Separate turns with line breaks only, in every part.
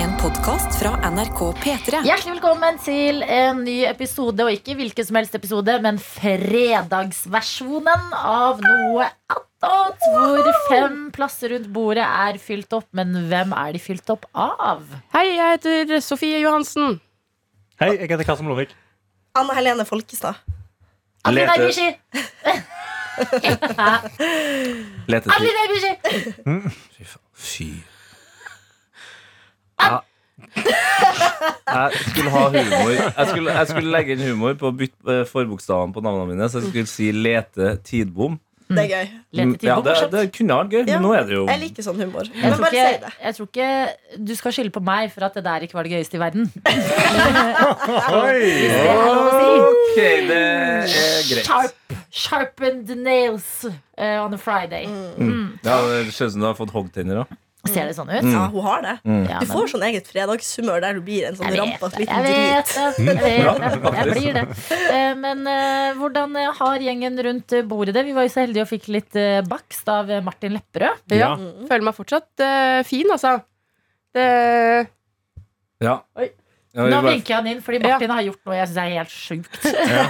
En podkast fra NRK P3.
Hjertelig velkommen til en ny episode, og ikke hvilken som helst episode, men fredagsversjonen av noe attåt, hvor fem plasser rundt bordet er fylt opp. Men hvem er de fylt opp av?
Hei, jeg heter Sofie Johansen.
Hei, jeg heter Karsten Blomvik.
Anne Helene Folkestad.
Adeline
Lete.
Ibishi!
Lete til
Adeline Ibishi!
Fy faen. Fy. Ja. Jeg skulle ha humor Jeg skulle, jeg skulle legge inn humor på å bytte eh, forbokstavene på navnene mine. Så jeg skulle si Lete Tidbom.
Mm.
Det er gøy.
Lete til
Mm, Ja, det,
Bokkjapt.
det kunne vært gøy,
Ja.
men nå er det jo
Jeg liker sånn humor.
Jeg
Men
tror,
bare si
ikke,
det.
jeg tror ikke du skal skylde på meg for at det der ikke var det gøyeste i verden.
Oi!
Det er lov å si.
Ok, det er greit.
Sharp, sharpened nails eh, on a Friday.
Mm.
Ja, det ser ut som du har fått hoggtenner òg.
Ser det sånn ut?
Mm.
Ja, hun har det.
Ja,
Du
men-
får sånn eget fredagshumør der du blir en sånn
Jeg vet
rampete
det,
liten
jeg
drit.
vet det, jeg
Bra,
vet det. Jeg
faktisk.
blir det. Eh, Men eh, hvordan eh, har gjengen rundt eh, bordet det? Vi var jo så heldige og fikk litt eh, bakst av eh, Martin Lepperød.
Ja.
Føler meg fortsatt eh, fin, altså. Det,
Ja.
Oi.
Ja, vi
Nå
bare-
vinker han inn, fordi Martin har gjort noe jeg syns er helt sjukt.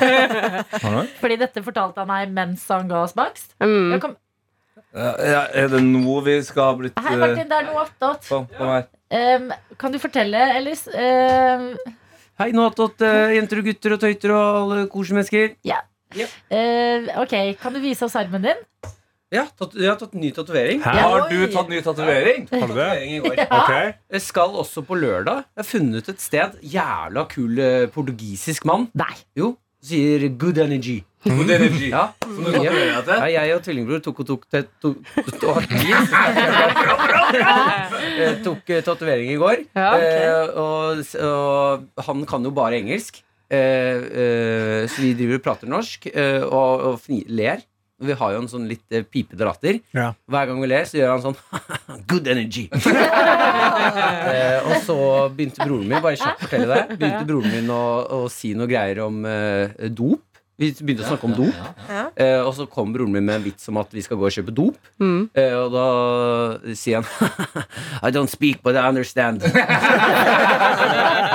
Har du?
Fordi dette fortalte han meg mens han ga oss bakst.
mm.
Jeg kom-
Ja, ja, Er det nå vi skal ha blitt
Hei,
eh,
Martin, det er noe attåt.
Sånn, kom her.
Um, kan du fortelle, Ellis? Um,
Hei, nå har jeg tatt eh, jenter og gutter og tøyter og alle kosemennesker.
uh, ok, kan du vise oss armen din?
Ja, tatt, jeg har tatt ny tatovering.
Hæ?
Har du tatt ny tatovering?
Har du det?
Tatovering i går.
Ok.
Jeg skal også på lørdag. Jeg har funnet ut et sted. Jævla kul eh, portugisisk mann.
Nei.
Jo, sier good energy.
God energi.
Ja,
Ja.
jeg, ja, jeg og tvillingebror tok og tok te- tok- tok- Eh, Tok eh, tatovering i går.
Ja, ok.
Eh, og, s- og han kan jo bare engelsk. Eh, eh, så vi driver og prater norsk eh, og, og fni, ler. Og Vi har jo en sånn litt eh, pipete latter.
Ja.
Hver gang vi ler, så gjør han sånn Good energy! eh, og så begynte broren min Bare kjapt fortelle deg Begynte broren min å, å si noe greier om eh, dop. Vi begynte å snakke om dop.
Ja.
Eh, og så kom broren min med en vits om at vi skal gå og kjøpe dop.
Mm.
Eh, og da sier han I don't speak, but I understand.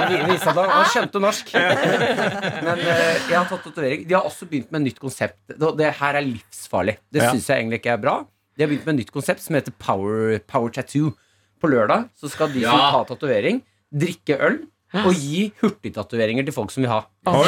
Det viser at han, han skjønte norsk. Men eh, jeg har tatt tatovering. De har også begynt med et nytt konsept. Det, det her er livsfarlig. Det
Ja.
syns jeg egentlig ikke er bra. De har begynt med et nytt konsept som heter Power, power Tattoo. På lørdag så skal de som tar tatovering, drikke øl og gi hurtigtatoveringer til folk som vil ha.
Oi.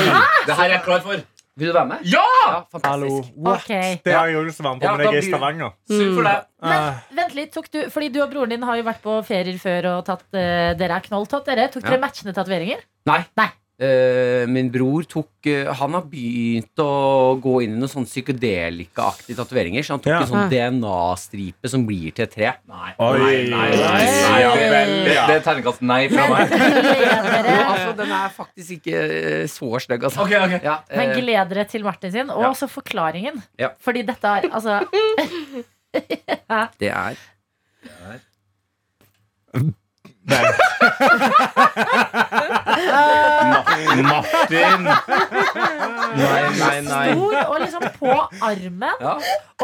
Det her er jeg klar for.
Vil du være med?
Ja!
Ja,
Hallo.
fantastisk.
What?
Ok.
Det har jeg også lyst til å være med på,
Ja,
men jeg
da
er i
blir-
Stavanger.
Synd for deg.
Eh,
Vent litt, tok du, fordi du og broren din har jo vært på ferier før og tatt eh, Dere er knolltott, dere. Tok dere
Ja.
matchende tatoveringer?
Nei.
Nei.
Eh, min bror tok eh, Han har begynt å gå inn i noen sånne psykedelikaaktige tatoveringer. Så han tok
Ja.
en sånn DNA-stripe som blir til et tre.
Nei.
Oi.
nei, nei,
Nei, ja vel,
Det, det er terningkast nei fra meg.
Eh, Gleder
Jo,
dere-
altså, den er faktisk ikke eh, så stygg, altså.
Ok, ok
Ja, eh,
Men gleder dere til Martin sin. Og
ja.
også forklaringen.
Ja.
Fordi dette er altså
det er
Martin!
Nei, nei, nei.
stor og liksom på armen.
Ja,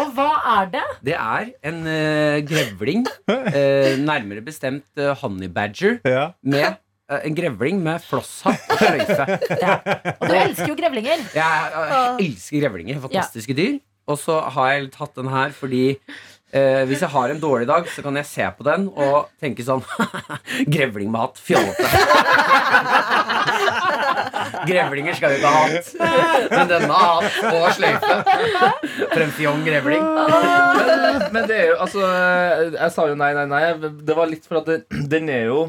Og hva er det?
det er en eh, grevling, eh, nærmere bestemt eh, honey badger,
Ja.
med eh, en grevling med flosshatt og sløyfe.
Og du elsker jo grevlinger.
Jeg, jeg elsker grevlinger. Fantastiske dyr. Og så har jeg tatt den her fordi eh, hvis jeg har en dårlig dag, så kan jeg se på den og tenke sånn Grevlingmat. Fjollete. Grevlinger skal jo ikke ha hatt. Men denne har hatt på sløyfe. For en fjong grevling.
Men, men det er jo Altså, jeg sa jo nei, nei, nei. Det var litt for at den, den er jo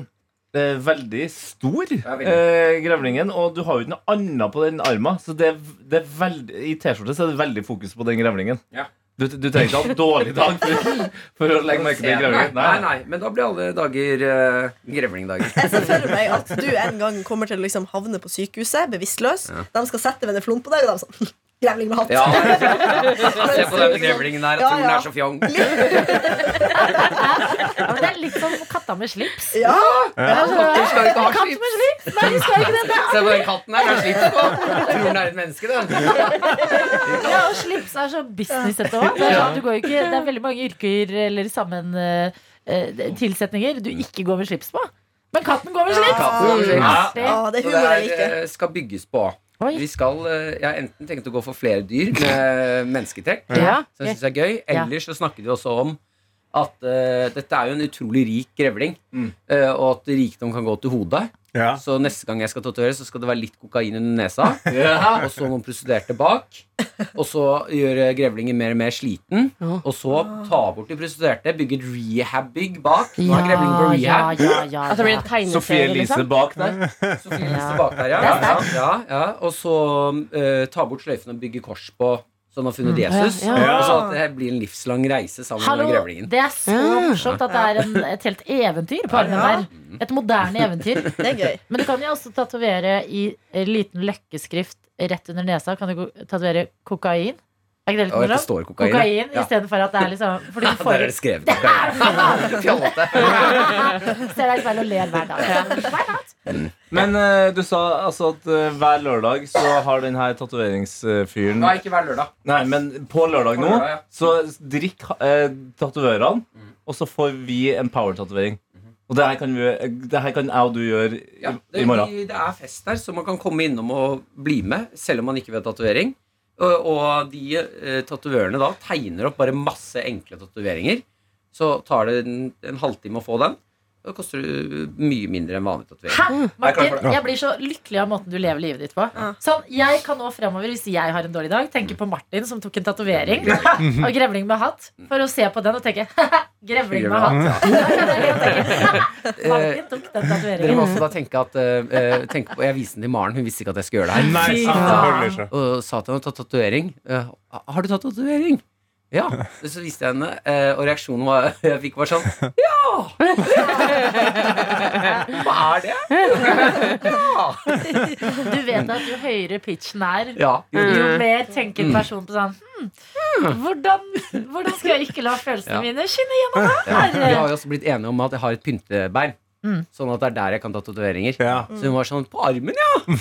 eh, veldig stor,
Ja, veldig.
eh, grevlingen. Og du har jo ikke noe annet på den armen. Så det er, det er veldig, i T-skjorte så er det veldig fokus på den grevlingen.
Ja.
Du, du trenger ikke ha en dårlig dag for, for å legge merke til
nei,
grevlingen.
nei, nei, men da blir alle dager eh, grevlingdager.
Jeg ser for meg at du en gang kommer til å liksom havne på sykehuset bevisstløs. De skal sette veneflon på deg, og de er sånn Grevling med hatt.
Ja, Se på den grevlingen der. Jeg tror den er så fjong.
Ja, men det er litt som katta med slips.
Ja,
Den skal ikke ha slips.
Med slips? Nei, vi skal ikke det. det.
Se på den katten her, den slipper på. Tror den er et menneske, den.
er- Ja, og slips er så businessete òg. Det, er sånn, du går jo ikke- det er veldig mange yrker eller sammen eh, eh, tilsetninger du ikke går med slips på. Men katten går vel slik?
Katten går vel slik.
Artig.
Å, det er
Så
humor jeg
det
liker.
her, eh, skal bygges på.
Oi.
Vi skal, eh, Jeg har enten tenkt å gå for flere dyr med mennesketrekk,
Ja.
som jeg syns er gøy. Ellers så snakker de også om at eh, dette er jo en utrolig rik grevling,
Mm.
eh, og at rikdom kan gå til hodet.
Ja.
Så neste gang jeg skal tatovere, så skal det være litt kokain under nesa. Og så noen prostituerte bak. Og så gjøre grevlingen mer og mer sliten.
Ja.
Og så ta bort de prostituerte, bygge et rehab-bygg bak. Nå er grevlingen på
ja,
rehab.
ja, ja,
At det altså, blir
ja.
en
Sofie
tegneserie,
Elise
liksom?
bak der.
Sofie
Ja.
Elise bak der, ja.
Det er
ja, ja, ja. Og så eh, ta bort sløyfen og bygge kors på Sånn har funnet Jesus.
Mm. Ja,
ja.
Og så at det blir en livslang reise sammen
Hallo,
med grevlingen.
det er så morsomt at det er en, et helt eventyr på armen der. Et moderne eventyr.
Det er gøy.
Men du kan jo også tatovere i eh, liten løkkeskrift rett under nesa. Kan du ko- tatovere kokain? Er ikke det litt
Og det
morsomt?
står kokain. ja.
Kokain
ja.
istedenfor at det er liksom Fordi du
Der
får
er det skrevet kokain. Fjollete.
Ser deg i speilet og ler hver dag. Hver dag.
Men eh, du sa altså at eh, hver lørdag så har den her tatoveringsfyren
Nei, ikke hver lørdag.
Nei, men på lørdag
På
nå,
lørdag, ja. Mm.
så drikk eh, tatoverene, og så får vi en power-tatovering. Og det her kan, vi, det her kan jeg og du gjøre i,
Mhm. Ja, det,
i morgen.
det er fest der, så man kan komme innom og bli med, selv om man ikke vil ha tatovering. Og, og de eh, tatovørene da tegner opp bare masse enkle tatoveringer. Så tar det en, en halvtime å få den. og Det koster eh, mye mindre enn vanlig tatovering.
Hæ? Martin, jeg blir så lykkelig av måten du lever livet ditt på. Sånn, Jeg kan nå fremover, hvis jeg har en dårlig dag, tenke på Martin som tok en tatovering og grevling med hatt, for å se på den og tenke grevling med hatt. Da kan jeg le og tenke, Martin tok den
Eh, Dere må
tatoveringen.
også da tenke at eh, eh, tenk på, Jeg viste den til Maren, hun visste ikke at jeg skulle gjøre det her.
Nei, selvfølgelig ikke.
Og sa til henne tatt tatovering. Eh, har du tatt tatovering? Ja. Så viste jeg henne, eh, og reaksjonen var, jeg fikk, var sånn Ja! Hva er det?
Du vet at jo høyere pitchen er,
Ja. Mm.
jo mer tenker personen på sånn hmm, hvordan, hvordan skal jeg ikke la følelsene
Ja.
mine skinne gjennom
Vi har
her?
jo også blitt enige om at jeg har et pyntebein.
Mm.
Sånn at det er der jeg kan ta tatoveringer.
Ja.
Så hun var sånn På armen, ja!
For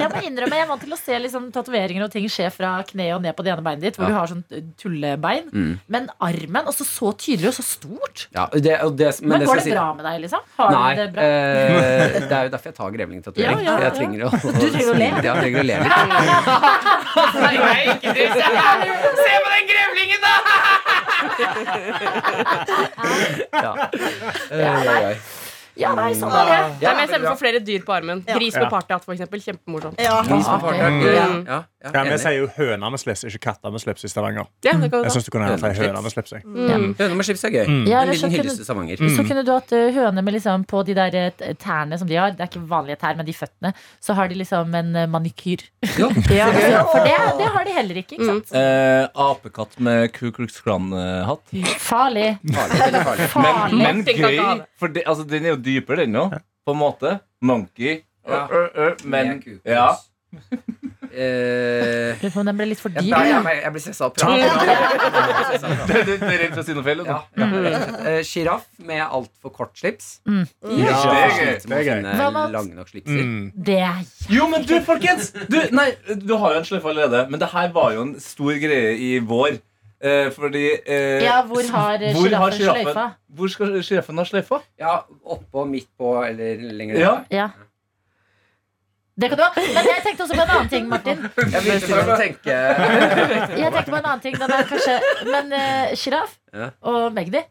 jeg må innrømme, jeg er vant til å se liksom, tatoveringer og ting skje fra kneet og ned på det ene beinet ditt, hvor
Ja.
du har sånn tullebein.
Mm.
Men armen, også så tydelig og så stort.
ja og det, og det, men
Men,
det
går
skal
det
jeg si
bra med deg, liksom? Har
Nei.
du det bra?
eh, det er jo derfor jeg tar
Ja,
grevlingtatovering.
ja,
Jeg
ja.
trenger å
Du trenger å le.
Ja, jeg trenger å le litt.
Se på den grevlingen, da!
Ja. Eh, oi, oi.
Ja, nei, sånn er det.
Ja,
Nei, men jeg stemmer for flere dyr på armen.
Ja.
Gris med partyhatt, for eksempel. Kjempemorsomt.
Ja.
Gris med fart, ja. Ja, ja,
Ja, men
enig.
jeg sier jo høna med slips, ikke katta med slips i Stavanger.
Ja, det kan
Jeg
du ta.
syns du kunne hatt ei høne med slips. jeg.
Mm.
Høne med chips er gøy.
Mm.
Ja,
En
eller så
liten
kunne,
hyllest til Stavanger.
så kunne du hatt ø, høne med liksom på de der ø, t- tærne som de har. Det er ikke vanlige tær, men de føttene. Så har de liksom en ø, manikyr.
Ja.
Ja, så- for det, det har de heller ikke. ikke sant?
Eh, apekatt med Ku Klux Klan-hatt.
Farlig.
Farlig, veldig farlig.
Men,
Farlig.
men
Tenk at
gøy,
han-
for det, altså, den er jo dypere, den nå. På en måte. Monkey.
Ja.
Ø, ø, ø, men
Med kukus.
ja.
Eh,
Lurer på om den ble litt for
jeg,
dyr.
jeg,
Ja,
jeg, jeg blir stressa av prat.
Du du- du er redd for å si noe feil? vet du.
Ja, Eh, Sjiraff med altfor kort slips.
Mm.
Ja,
Det er gøy.
sliter med å
Det er
Hva
gøy.
med
finne
oss?
lange nok slipser.
Mm.
Det er
Jo, men du, folkens! Du, nei, du har jo en sløyfe allerede, men det her var jo en stor greie i vår. Eh, fordi eh,
Ja, hvor har ø,
hvor har
sjiraffen
sjiraffen-
sløyfa?
Hvor skal sjiraffen ha sløyfa?
Ja, oppå, midt på eller lenger
Ja.
Ja. Det kan du ha. Men jeg tenkte også på en annen ting, Martin.
Jeg begynte først å tenke
Jeg tenkte på en annen ting. Den er kanskje, men eh, sjiraff
Ja.
og Magdi.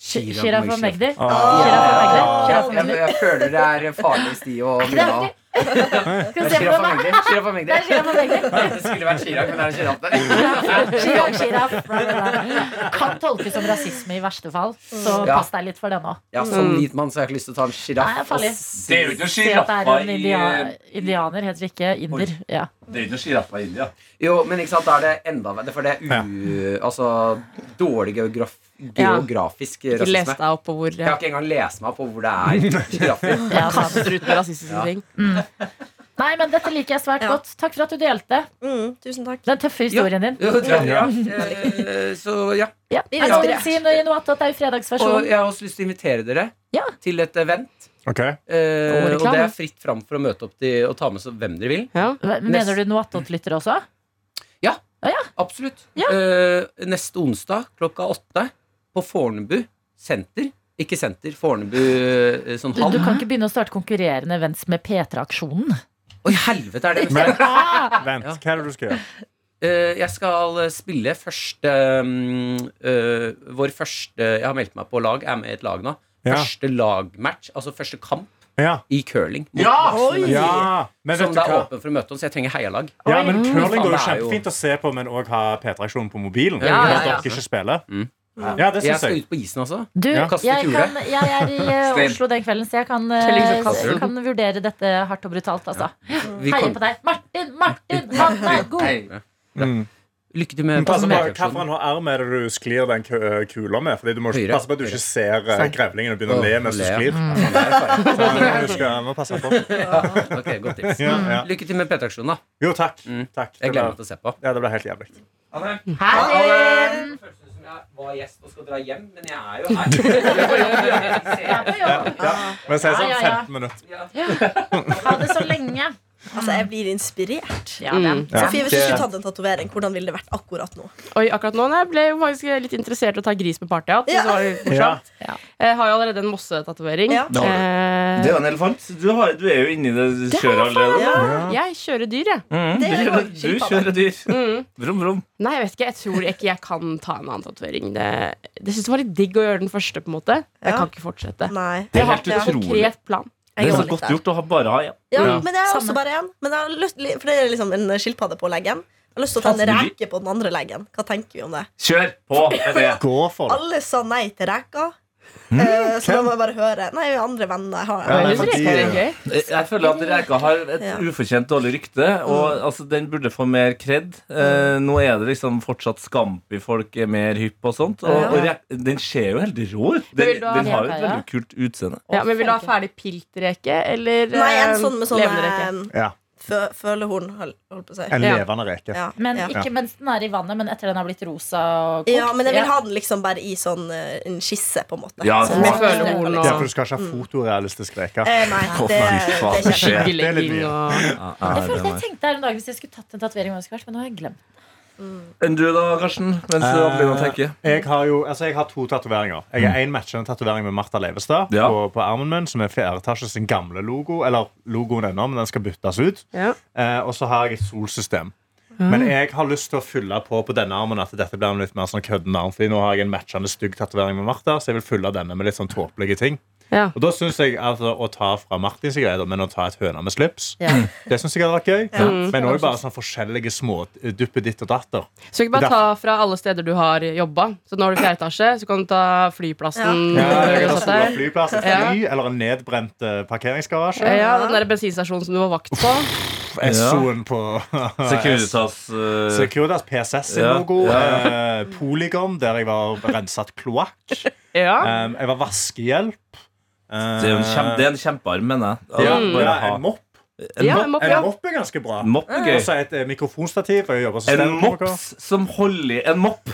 Sj- Sjiraff og Magdi.
Ah.
Sjiraff og Magdi. Sjiraff
Sjiraff,
og
jeg,
Magdi.
jeg føler det er en farlig sti å
Det
begynne
er
av.
Magdi. Skal
Det
vi
er
se på meg?
Sjiraff og Magdi. Sjiraff og
Det er sjiraff og Magdi.
Magdi. Det skulle vært sjiraff, men det er sjiraff der.
Sjiraff, sjiraff. bla, bla, bla. Kan tolkes som rasisme i verste fall, så
Ja.
pass deg litt for det nå.
Ja, som hvit mann så har jeg ikke lyst til å ta en
Mm. Nei,
sjiraff. og
farlig.
s-
Det er jo ikke noe
Se at det er
sjiraffa
en
i eh,
india- indianer, heter det ikke inder. Ja.
Det er jo ikke noe sjiraffa i India.
Jo, men ikke sant, da er det enda verre. For det er u... Altså, dårlig geograf, geografisk
Ikke les
rasisme.
deg opp på hvor eh,
Jeg
ja.
har ikke engang lest meg på hvor det er sjiraffer.
Ja, sant.
kaster ut med rasistiske ting.
Nei, men dette liker jeg svært
Ja.
godt. Takk for at du delte
Mm, tusen takk.
den tøffe historien din.
Jo, det er bra. Eh, Så ja.
Ja.
Vi er
Jeg vil
inspirert.
si noe i noe annet at det er jo
Og
fredagsversjonen.
jeg har også lyst til å invitere dere
Ja.
til et event.
Ok.
Eh,
Og
og det
reklame.
er fritt fram for å møte opp til, og ta med så hvem dere vil.
Ja.
Hva- Mener du noe attåtlytter også?
Absolutt.
Ja.
Eh, neste onsdag klokka åtte på Fornebu senter Ikke senter. Fornebu eh, sånn
Du,
havn.
du kan ikke begynne å starte konkurrerende events med P3-aksjonen.
Oi, helvete er det
Men vent, hva er det du skal gjøre?
Eh, Jeg skal eh, spille første mm, eh, Vår første Jeg har meldt meg på lag, er med i et lag nå.
Ja.
Første lagmatch, altså første kamp
Ja.
i curling. mot
Ja!
Varsel,
ja. Men
Som
vet du
det er
hva?
åpen for å møte oss. Jeg trenger heialag.
Ja, men curling
faen,
går jo
det er jo-
kjempefint å se på, men òg ha P3-aksjon på mobilen.
Ja,
når
ja, ja.
dere ikke spiller.
Mm.
Ja, det
Jeg
syns
skal
jeg.
ut på isen også.
Du,
Ja.
Kaste
jeg,
kule.
kan, jeg er i eh,
Stein.
Oslo den kvelden, så jeg kan,
Kjelling som
eh,
kaster.
kan vurdere dette hardt og brutalt. Altså.
Vi
Heier
kan-
på deg. Martin, Martin, han er god!
Mm.
Lykke til med
Men pass på
P3-aksjonen.
hvilken arm er det du sklir den kø- kula med. Fordi du må
Høyre.
passe på at du ikke ser eh, grevlingen og begynner å le mens du
Å, le. Mm.
sklir. Ja, Sånn, eh, du skal, må passe på.
Ok, godt tips.
Ja, ja.
Lykke til med P3-aksjonen, da.
Jo, takk.
Mm.
takk.
Jeg
Det
gleder meg
ble,
til å se på.
ja, det ble helt jævlig.
Herren! Ja, ja.
Men si sånn
Ja, ja, ja.
15 minutter.
Ha det så lenge.
Altså, jeg blir inspirert.
Ja, det er
Ja.
Sofie, hvis du skulle tatt en tatovering, hvordan ville det vært akkurat nå?
Oi, akkurat nå nei, ble jeg jo faktisk litt interessert i å ta gris på partyhatt. så
Ja.
det var litt morsomt. Jeg har jo allerede en mossetatovering.
Ja.
Det har
Eh,
Det er jo en elefant. Du, har, du er jo inni det kjøret allerede.
Ja,
jeg kjører dyr, jeg.
Mm,
Det
du,
er jo
kjører, du
skilpadde.
kjører dyr.
Mm.
Vrom, vrom.
Nei, jeg vet ikke. Jeg tror ikke jeg kan ta en annen tatovering. Det, det synes jeg var litt digg å gjøre den første, på en måte. Jeg
Ja.
kan ikke fortsette.
Nei.
Det er helt
Ja.
utrolig.
Konkret plan.
Jeg
Det er
går
så
litt
godt
der.
gjort å ha bare ha én.
Ja,
Ja.
men jeg har også
Samme.
bare en. Men jeg har lyst, li- for det er liksom en skilpadde på leggen. Jeg har lyst til å ta en
Faen,
reke på den andre leggen. Hva tenker vi om det?
Kjør på med det.
Gå for det.
Alle sa nei til reker. Eh, så da må jeg bare høre. Nei, andre venner jeg har.
Hmm? Ja, nei,
Jeg synes
fordi-
det er gøy.
Jeg føler at Reka har et
Ja.
ufortjent dårlig rykte, og altså, den burde få mer kred. Eh, nå er det liksom fortsatt skampi folk er mer hypp og sånt. Og, og Re- den ser jo helt rå ut. Den,
vil du ha
den har jo et
Reka, ja?
veldig kult utseende.
Ja, men vil du ha ferdig piltreke eller
Nei, en
eh,
sånn med
levende reke?
sånn
Ja.
følehorn, hol- holdt på å si.
En
Ja.
levende reke.
Ja,
Men
ja.
ikke mens den er i vannet, men etter den har blitt rosa og kokt.
ja, men jeg vil ha den liksom bare i sånn eh, en skisse, på en måte.
Ja,
Sånn
Med
som-
følehorn
Ja, for
og
du skal ikke ha fotorealistisk reke.
Eh, nei,
Å,
det,
fy faen,
det
skjer.
kjenner jeg.
det er litt
skillegging
mye.
og
Ja,
Jeg følte jeg tenkte her en dag hvis jeg skulle tatt en tatovering, hva det skulle vært, men nå har jeg glemt.
Enn du da, Karsten? Mens
Eh,
Adelina tenker.
Jeg har jo altså jeg har to tatoveringer. Jeg
Mm.
har en matchende tatovering med Martha Leivestad
Ja.
på, på armen min, som er fjerde etasje sin gamle logo. Eller logoen ennå, men den skal byttes ut.
Ja.
Eh, og så har jeg et solsystem.
Ah.
Men jeg har lyst til å fylle på på denne armen at dette blir en litt mer sånn kødden arm. Fordi nå har jeg en matchende stygg tatovering med Martha, så jeg vil fylle denne med litt sånn tåpelige ting.
Ja.
Og da syns jeg altså, å ta fra Martins greier, men å ta et høne med slips,
Ja.
Mm.
det syns jeg hadde vært gøy. Men òg bare sånn forskjellige smådupper ditt og datter.
Så ikke bare ta fra alle steder du har jobba. Så nå har du fjerde etasje, så kan du ta flyplassen.
Ja,
hvor du
eller
har satt
store
deg.
flyplass, et
Ja.
fly, eller en nedbrent eh, parkeringsgarasje.
Ja, den der bensinstasjonen som du var vakt på.
SO-en på
Securitas eh,
Securitas PSS sin
Ja,
logo.
ja,
eh, Polygon, der jeg var renset kloakk.
Ja.
Um, jeg var vaskehjelp. Ehm,
det er jo en, kjempe, det er en kjempearm, mener jeg.
ja,
Å
ja,
bare ha.
en mopp.
Ja,
En
en mopp,
En
ja.
mopp er ganske bra.
mopp er
Og
gøy.
så et eh, mikrofonstativ. Jeg jobber som
En
standup-komiker.
mops som holder i en mopp.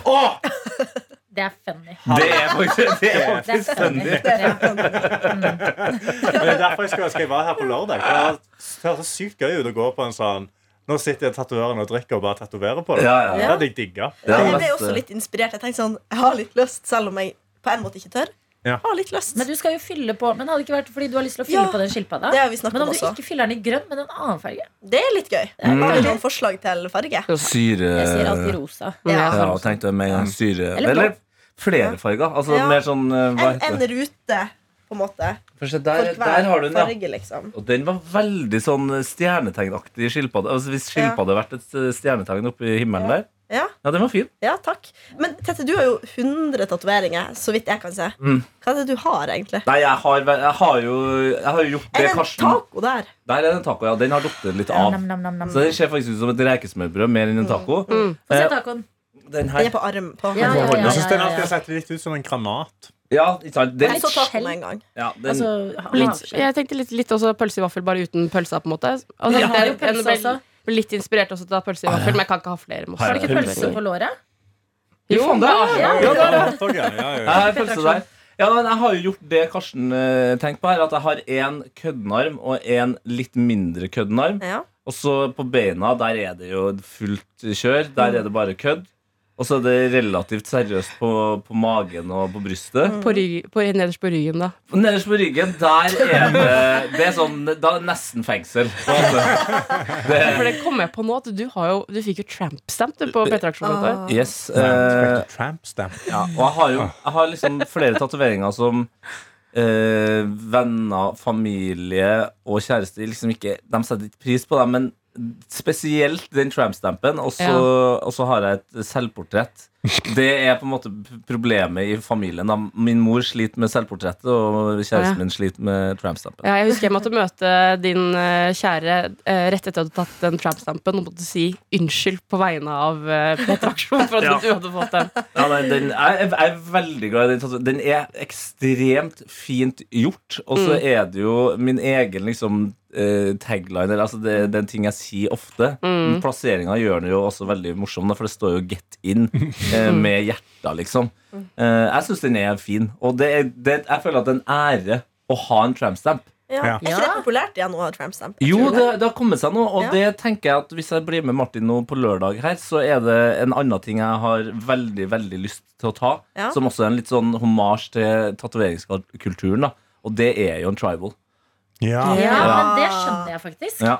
Det er funny.
Det er faktisk det er
Det er
faktisk
funny.
funny.
Men Det er derfor jeg skulle ønske jeg var her på lørdag. for Det hadde- det hørtes sykt gøy ut å gå på en sånn Nå sitter jeg tatovøren og drikker og bare tatoverer på det.
Ja, ja.
Det hadde jeg digga.
Det er
Jeg ble
mest,
også
eh,
litt inspirert. Jeg tenkte sånn, jeg har litt lyst, selv om jeg på en måte ikke tør.
Ja.
Jeg har litt lyst.
Men du skal jo fylle på Men hadde det ikke vært fordi du har lyst til å fylle
Ja,
på den skilpadda?
Det har vi snakket
Men
om
om du
også.
ikke fyller den i grønn, men en annen farge?
Det er litt gøy.
Mm.
Jeg har noen forslag til farge.
Syre
Jeg sier alltid rosa.
Ja.
Ja, og tenkte jeg med en gang syre
Eller
Eller,
blå.
flere farger. Altså
Ja.
mer sånn eh, hva
En,
heter
en
det?
rute, på en måte.
For se,
For
der,
hver
der har du den, ja.
farge, liksom.
Og den var veldig sånn stjernetegnaktig skilpadde. Altså Hvis skilpadde hadde vært et eh, stjernetegn oppe i himmelen der,
Ja,
ja, den var fin.
ja, takk. Men Tete, du har jo 100 tatoveringer, så vidt jeg kan se.
Mm.
Hva er det du har, egentlig?
Nei, jeg har, vel- jeg har jo Jeg har jo gjort
Er
det
det en
Karsten
taco der?
Der er det en taco, ja. Den har datt litt av.
Nam, nam, nam, nam.
Så den ser faktisk ut som et rekesmørbrød mer enn en taco.
Få se
Eh,
tacoen.
Den
Den er
her
på arm. På
Ja, ja, ja,
Jeg syns
ja,
den
ja,
alltid
ja.
har sett litt ut som en granat.
Ja, ikke sant? Den,
Jeg så taco med en gang.
ja, den,
Altså,
Litt-
havskjell.
Jeg tenkte litt, litt også pølse i vaffel, bare uten pølsa, på en måte. Og så
Ja,
har
det er jo
jeg en
pølse
vel-
også.
ble litt inspirert også til å ta pølse i vaffel, men jeg kan ikke ha flere
Her
Ah, Har
er
du
mosser.
ikke pølse på låret?
Jo,
Faen, det er-
Ja.
Ja, det er det. Ja, ja, ja.
Jeg har følelse der. Ja, men jeg har jo gjort det Karsten eh, tenkte på her, at jeg har én køddenarm og én litt mindre køddenarm.
Ja.
Og så på beina, der er det jo fullt kjør. Der er det bare kødd. Og så er det relativt seriøst på, på magen og på
Mm.
brystet.
På rygg, på, nederst på ryggen, da.
Nederst på ryggen, der er det Det er sånn, da er det nesten fengsel. på en måte.
For det kom jeg på nå, at du, har jo, du fikk jo tramp stamp du, på P3-aksjonen. dette år.
Yes, eh,
Tramp, tramp stamp.
ja, og jeg har jo jeg har liksom flere tatoveringer som eh, venner, familie og kjæreste liksom ikke, De setter ikke pris på dem, men spesielt den tramp-stampen. Og så
Ja.
og så har jeg et selvportrett. Det er på en måte p- problemet i familien. da. Min mor sliter med selvportrettet, og
Ja.
kjæresten min sliter med tramp-stampen.
Ja, jeg husker jeg måtte møte din eh, kjære eh, rett etter at du hadde tatt den tramp-stampen, og måtte si unnskyld på vegne av uh, P3-aksjonen for at
Ja.
du hadde fått den.
Ja, nei, den, jeg, er- jeg er veldig glad i den. tatoveringen. Den er ekstremt fint gjort. Og så er det jo min egen liksom, eh, tagline. Eller, altså, det, det er en ting jeg sier ofte. Mm. Plasseringa gjør den jo også veldig morsom, da, for det står jo 'get in' eh, med hjerta, liksom. Eh, jeg syns den er fin. Og det er, det, jeg føler at det er en ære å ha en tramp-stamp.
Ja.
Ja.
Er ikke det populært igjen nå, tramp-stamp?
Jo, det, det har kommet seg noe, og
Ja.
det tenker jeg at hvis jeg blir med Martin nå på lørdag her, så er det en annen ting jeg har veldig, veldig lyst til å ta,
Ja.
som også er en litt sånn hommage til tatoveringskulturen, da. Og det er jo en tribal.
Ja,
Ja.
Ja.
men det skjønner jeg faktisk.
Ja.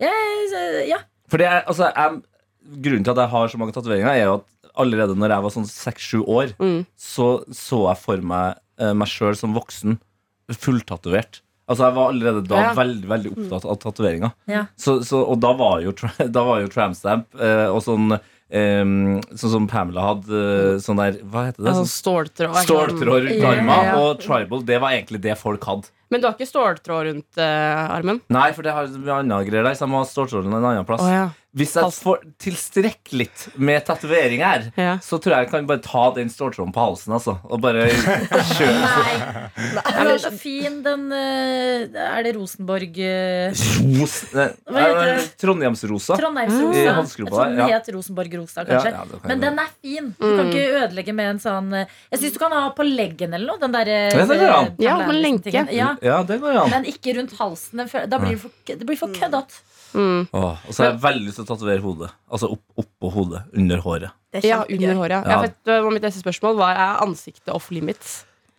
Jeg, så- ja.
For det er, altså, jeg, grunnen til at jeg har så mange tatoveringer, er jo at allerede når jeg var sånn seks-sju år,
Mm.
så så jeg for meg eh, meg sjøl som voksen, fulltatovert. Altså, jeg var allerede da
Ja.
veldig veldig opptatt av tatoveringer.
Ja.
Så, så, og da var jo, tra- da var jo tramstamp eh, og sånn eh, Sånn som Pamela hadde eh, sånn der Hva heter det?
Altså,
Sånn
ståltråd.
Ståltråd rundt
Ja,
armen.
ja.
Og tribal, det var egentlig det folk hadde.
Men du har ikke ståltråd rundt eh, armen?
Nei, for det har mye andre greier der, så jeg må ha ståltråden en annen plass.
Å ja.
Hvis jeg får tilstrekkelig med tatoveringer,
Ja.
så tror jeg jeg kan bare ta den ståltråden på halsen, altså. Og bare kjøre.
Nei. Den er så fin, den eh, Er det Rosenborg eh,
Ros Nei,
Hva heter det?
Trondheimsrosa.
Trondheimsrosa.
Mm. I
Jeg
håndsgropa
tror den
der, ja.
het Rosenborg-Rosa,
Ja,
kanskje.
ja, det kan
Men
jeg
den er fin. Du kan ikke ødelegge med en sånn eh, Jeg syns du kan ha på leggen eller noe. Den der, eh,
Ja, det går an.
Ja, på en
liksom
lenke.
tingen. Ja,
Ja, det går jo an.
men ikke rundt halsen. Den fø- Da blir det for, det blir for køddete.
Mm.
Åh, og så har jeg veldig lyst til å tatovere hodet. Altså opp, oppå hodet. Under håret.
Det er
ja,
kjempegøy.
under håret. Ja.
Ja.
Jeg vet, det var mitt neste spørsmål var er ansiktet off limits.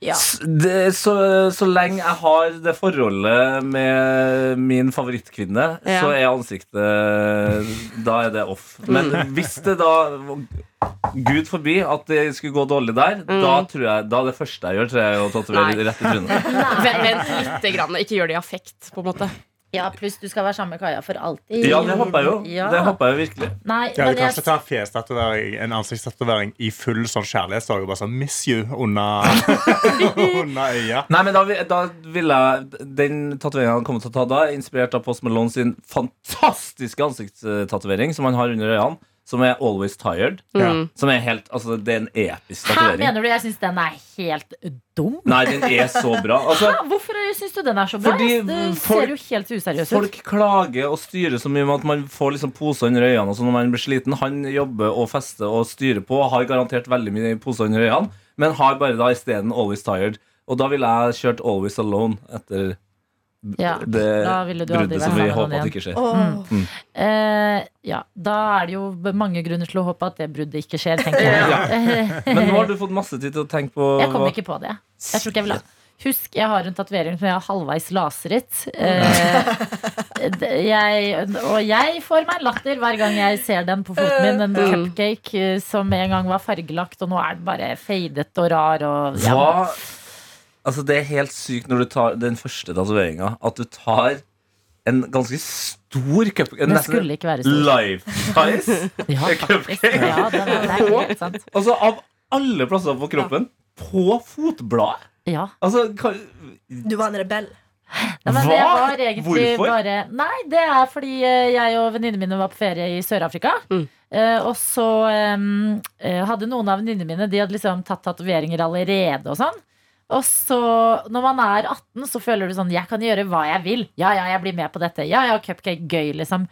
S- Det, så, så lenge jeg har det forholdet med min favorittkvinne,
Ja.
så er ansiktet Da er det off. Men
Mm.
hvis det da Gud forbi at det skulle gå dårlig der, da tror jeg Da er det første jeg gjør, tror jeg, er å
Mm. Nei.
tatovere rett i trynet.
Vent, vent lite grann. Ikke gjør det i affekt, på en måte.
Ja, pluss du skal være sammen med Kaja for alltid.
Ja, det håper jeg jo.
Ja.
Det håper jeg jo virkelig.
Nei,
Ja,
men
du kan ikke
jeg,
ta en fjestatovering, en ansiktstatovering i full sånn kjærlighetssorg og bare sånn 'miss you' under, under øya.
Nei, men da, vi- da ville jeg Den tatoveringen han kommer til å ta da, er inspirert av Post Malone sin fantastiske ansiktstatovering som han har under øynene, som er Always Tired.
Ja.
Mm.
Som er helt Altså, det er en episk
hæ,
tatovering.
mener du jeg syns den er helt dum?
Nei, den er så bra. Altså,
Hæ, Hvorfor syns du den er så bra?
Fordi
det
folk-
ser jo helt useriøs ut.
folk klager og styrer så mye med at man får liksom poser under øynene og sånn når man blir sliten. Han jobber og fester og styrer på, har garantert veldig mye poser under øynene, men har bare da isteden Always Tired. Og da ville jeg kjørt Always Alone etter
Ja,
det
da ville du aldri
bruddet som
vært sammen
vi
med noen
håper
igjen.
at ikke skjer.
Åh,
Eh, ja, da er det jo mange grunner til å håpe at det bruddet ikke skjer, tenker jeg.
Men nå har du fått masse tid til å tenke på
Jeg kom ikke på det. Jeg tror ikke jeg vil ha Husk, jeg har en tatovering som jeg har halvveis lasret. Eh, det- jeg, og jeg får meg latter hver gang jeg ser den på foten min. En cupcake eh, som en gang var fargelagt, og nå er den bare fadet og rar. Og, ja.
Hva Altså, det er helt sykt når du tar den første tatoveringa, at du tar en ganske stor cup
Den skulle ikke være stor.
Life size
Ja, faktisk. Ja, den er, det er helt sant.
Altså, av alle plasser på kroppen, på fotbladet!
Ja.
Altså, kan,
Mm.
du var en rebell.
Nei, men det
Hva?
var egentlig
Hvorfor?
bare Nei, det er fordi eh, jeg og venninnene mine var på ferie i Sør-Afrika. Eh, og så eh, eh, hadde noen av venninnene mine De hadde liksom tatt tatoveringer allerede og sånn. Og så, når man er 18, så føler du sånn Jeg kan gjøre hva jeg vil. Ja, ja, jeg blir med på dette. Ja, ja, cupcake, gøy, liksom.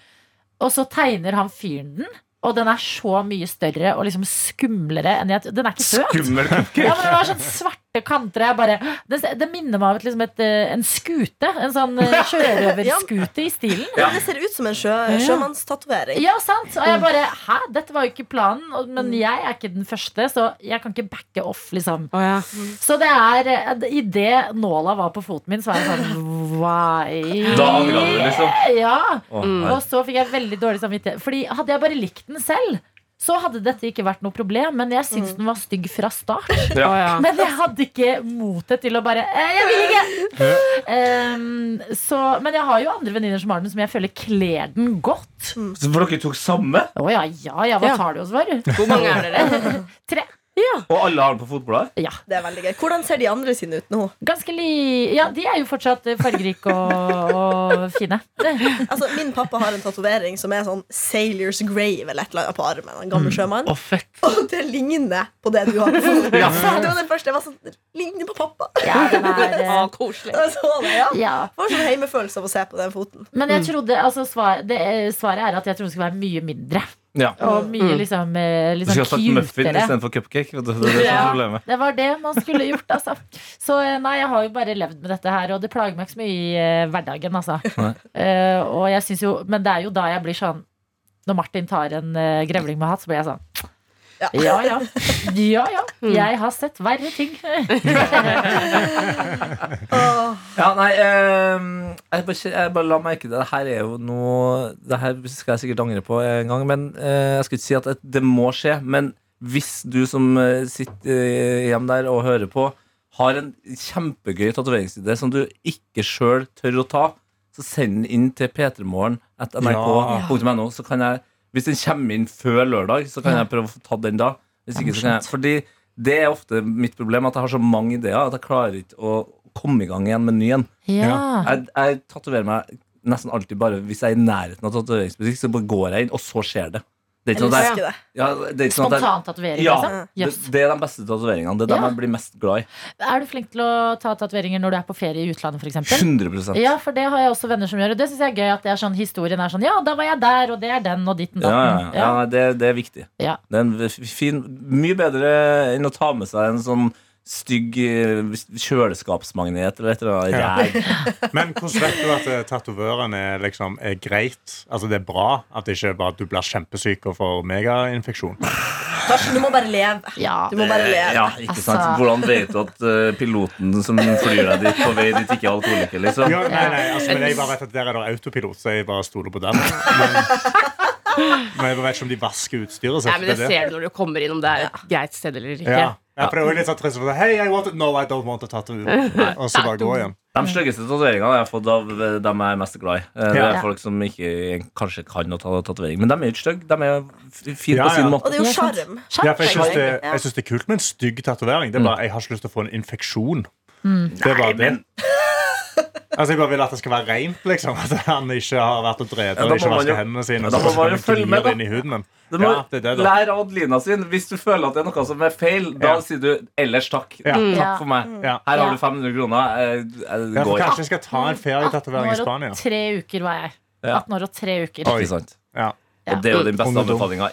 Og så tegner han fyren den, og den er så mye større og liksom skumlere enn jeg Den er ikke søt.
skummel cupcake!
Ja, men det var sånn svarte svarte kanter. Jeg bare, det, det minner meg om et, liksom et, eh, en skute. En sånn eh, sjørøverskute i stilen.
Ja, men det ser ut som en sjø, sjømannstatovering.
Ja, sant. Og jeg bare Hæ, dette var jo ikke planen. Og- Men
Mm.
jeg er ikke den første, så jeg kan ikke backe off, liksom.
Å ja.
Så det er Idet nåla var på foten min, så var jeg sånn Why?
Da angrer du, liksom.
Ja.
Å,
Og så fikk jeg veldig dårlig samvittighet. Fordi hadde jeg bare likt den selv, så hadde dette ikke vært noe problem. Men jeg
Mm.
syntes den var stygg fra start.
Å ja.
Men jeg hadde ikke motet til å bare «Eh, Jeg vil ikke! Ehm, så, men jeg har jo andre venninner som har den, som jeg føler kler den godt. Å
Så For dere tok samme?
ja, ja, ja, hva
Ja.
tar du oss for?
Hvor mange er dere?
Tre.
Og alle har den på fotbladet?
Ja,
Det er veldig gøy. Hvordan ser de andre sine ut nå?
ganske li... Ja, de er jo fortsatt eh, fargerike og, og fine.
Altså, Min pappa har en tatovering som er sånn Sailors Grave eller et eller annet på armen. En gammel sjømann.
Å, fett.
Og det ligner på det du har på foten.
Ja.
Så Det var den første. Jeg var sånn, det ligner på pappa.
Ja, den er,
Å,
eh,
koselig.
Jeg så det, ja.
ja.
Får sånn heimefølelse av å se på den foten.
Men
Mm.
jeg trodde, altså, svar, det, eh, svaret er at jeg trodde den skulle være mye mindre.
Ja.
Og
Mm.
mye liksom, eh,
Du
liksom
skulle ha sagt muffin
cutere.
istedenfor cupcake. vet du, Det er det som er
Ja.
problemet.
Det var det man skulle gjort, altså. Så eh, nei, jeg har jo bare levd med dette her, og det plager meg ikke så mye i eh, hverdagen, altså.
Nei.
Eh, og jeg synes jo Men det er jo da jeg blir sånn Når Martin tar en eh, grevling med hatt, så blir jeg sånn
Ja.
Ja ja. Ja ja. Jeg har sett verre ting.
Åh.
Ja, nei, eh, jeg, bare, jeg bare la merke til det. her er jo noe Det her skal jeg sikkert angre på en gang, men eh, jeg skal ikke si at det, det må skje. Men hvis du som eh, sitter eh, hjemme der og hører på, har en kjempegøy tatoveringsidé som du ikke sjøl tør å ta, så send den inn til p3morgen.nrk.no. Så kan jeg, hvis den kommer inn før lørdag, så kan jeg prøve å få tatt den da. Hvis ikke, så kan jeg, fordi det er ofte mitt problem, at jeg har så mange ideer at jeg klarer ikke å komme i gang igjen med ny en.
Ja.
Jeg, jeg tatoverer meg nesten alltid bare hvis jeg er i nærheten av tatoveringsbutikk, så bare går jeg inn, og så skjer det. Det
Jeg
er ikke sånn at jeg,
elsker det.
ja, det er ikke sånn at jeg
Spontan tatovering,
Ja,
liksom.
det,
Jøss.
det er de beste tatoveringene. Det er dem
Ja.
jeg blir mest glad i.
Er du flink til å ta tatoveringer når du er på ferie i utlandet, f.eks.?
100
Ja, for det har jeg også venner som gjør, og det syns jeg er gøy. At det er sånn, historien er sånn Ja, da var jeg der, og det er den, og ditten
Ja, ja,
datten.
ja. ja det, det er viktig.
Ja.
Det er en f- fin, mye bedre enn å ta med seg en sånn stygg eh, kjøleskapsmagnet eller et eller
Ja.
annet. ræv.
Men hvordan vet du at eh, tatovøren er, liksom, er greit? Altså Det er bra at det ikke er bare at du blir kjempesyk og får megainfeksjon.
Karsten, du må bare leve.
Ja.
Du må bare leve.
Ja, ikke sant?
Altså-
Hvordan vet du at eh, piloten som flyr deg dit, på vei dit ikke er alkoholiker? Liksom?
Ja, nei, nei, altså, men jeg bare vet at Der er det autopilot, så jeg bare stoler på den. Men, men jeg bare vet ikke om de vasker
Nei,
utstyret sitt.
men det
det er det.
ser du når du kommer inn, om det er et greit sted eller ikke.
Ja. Ja, for det er jo litt sånn trist. for det er, Hey, I want it. No, I don't want a tattoo. Og så bare gå igjen.
De styggeste tatoveringene har jeg fått av eh, dem jeg er mest glad i. Eh, Det
Ja.
er folk som ikke eh, kanskje kan å ta tatovering. Men de er jo ikke stygge. De er f- fine
Ja,
på sin
ja.
Og
måte.
det er jo
Ja, sant.
sjarm.
Ja, for jeg syns det,
Ja.
jeg synes det er kult med en stygg tatovering. Det er
Mm.
bare, jeg har ikke lyst til å få en infeksjon. Det er bare det. Altså, jeg bare vil at det skal være rent, liksom. At han ikke har vært og drevet
Ja, da
og
må
ikke
man jo-
vasket hendene sine.
Ja,
og
da
så
må man jo
bare
følge med,
glir
da.
inn i huden min.
Du må
Ja, det er det, da.
lære av Adelina sin. Hvis du føler at det er noe som er feil, da
Ja.
sier du 'ellers takk'.
Ja.
Takk
Ja.
for meg.
Ja.
Her
Ja.
har du 500 kroner. Jeg,
Ja,
jeg
for
går.
kanskje jeg skal ta en ferietatovering
18
i
år og
Spania.
Tre uker var jeg.
Ja.
18 år og tre uker.
Oi.
Ikke sant?
Ja.
Ja.
Og det er jo den
Om
beste
det er dumt.
anbefalinga.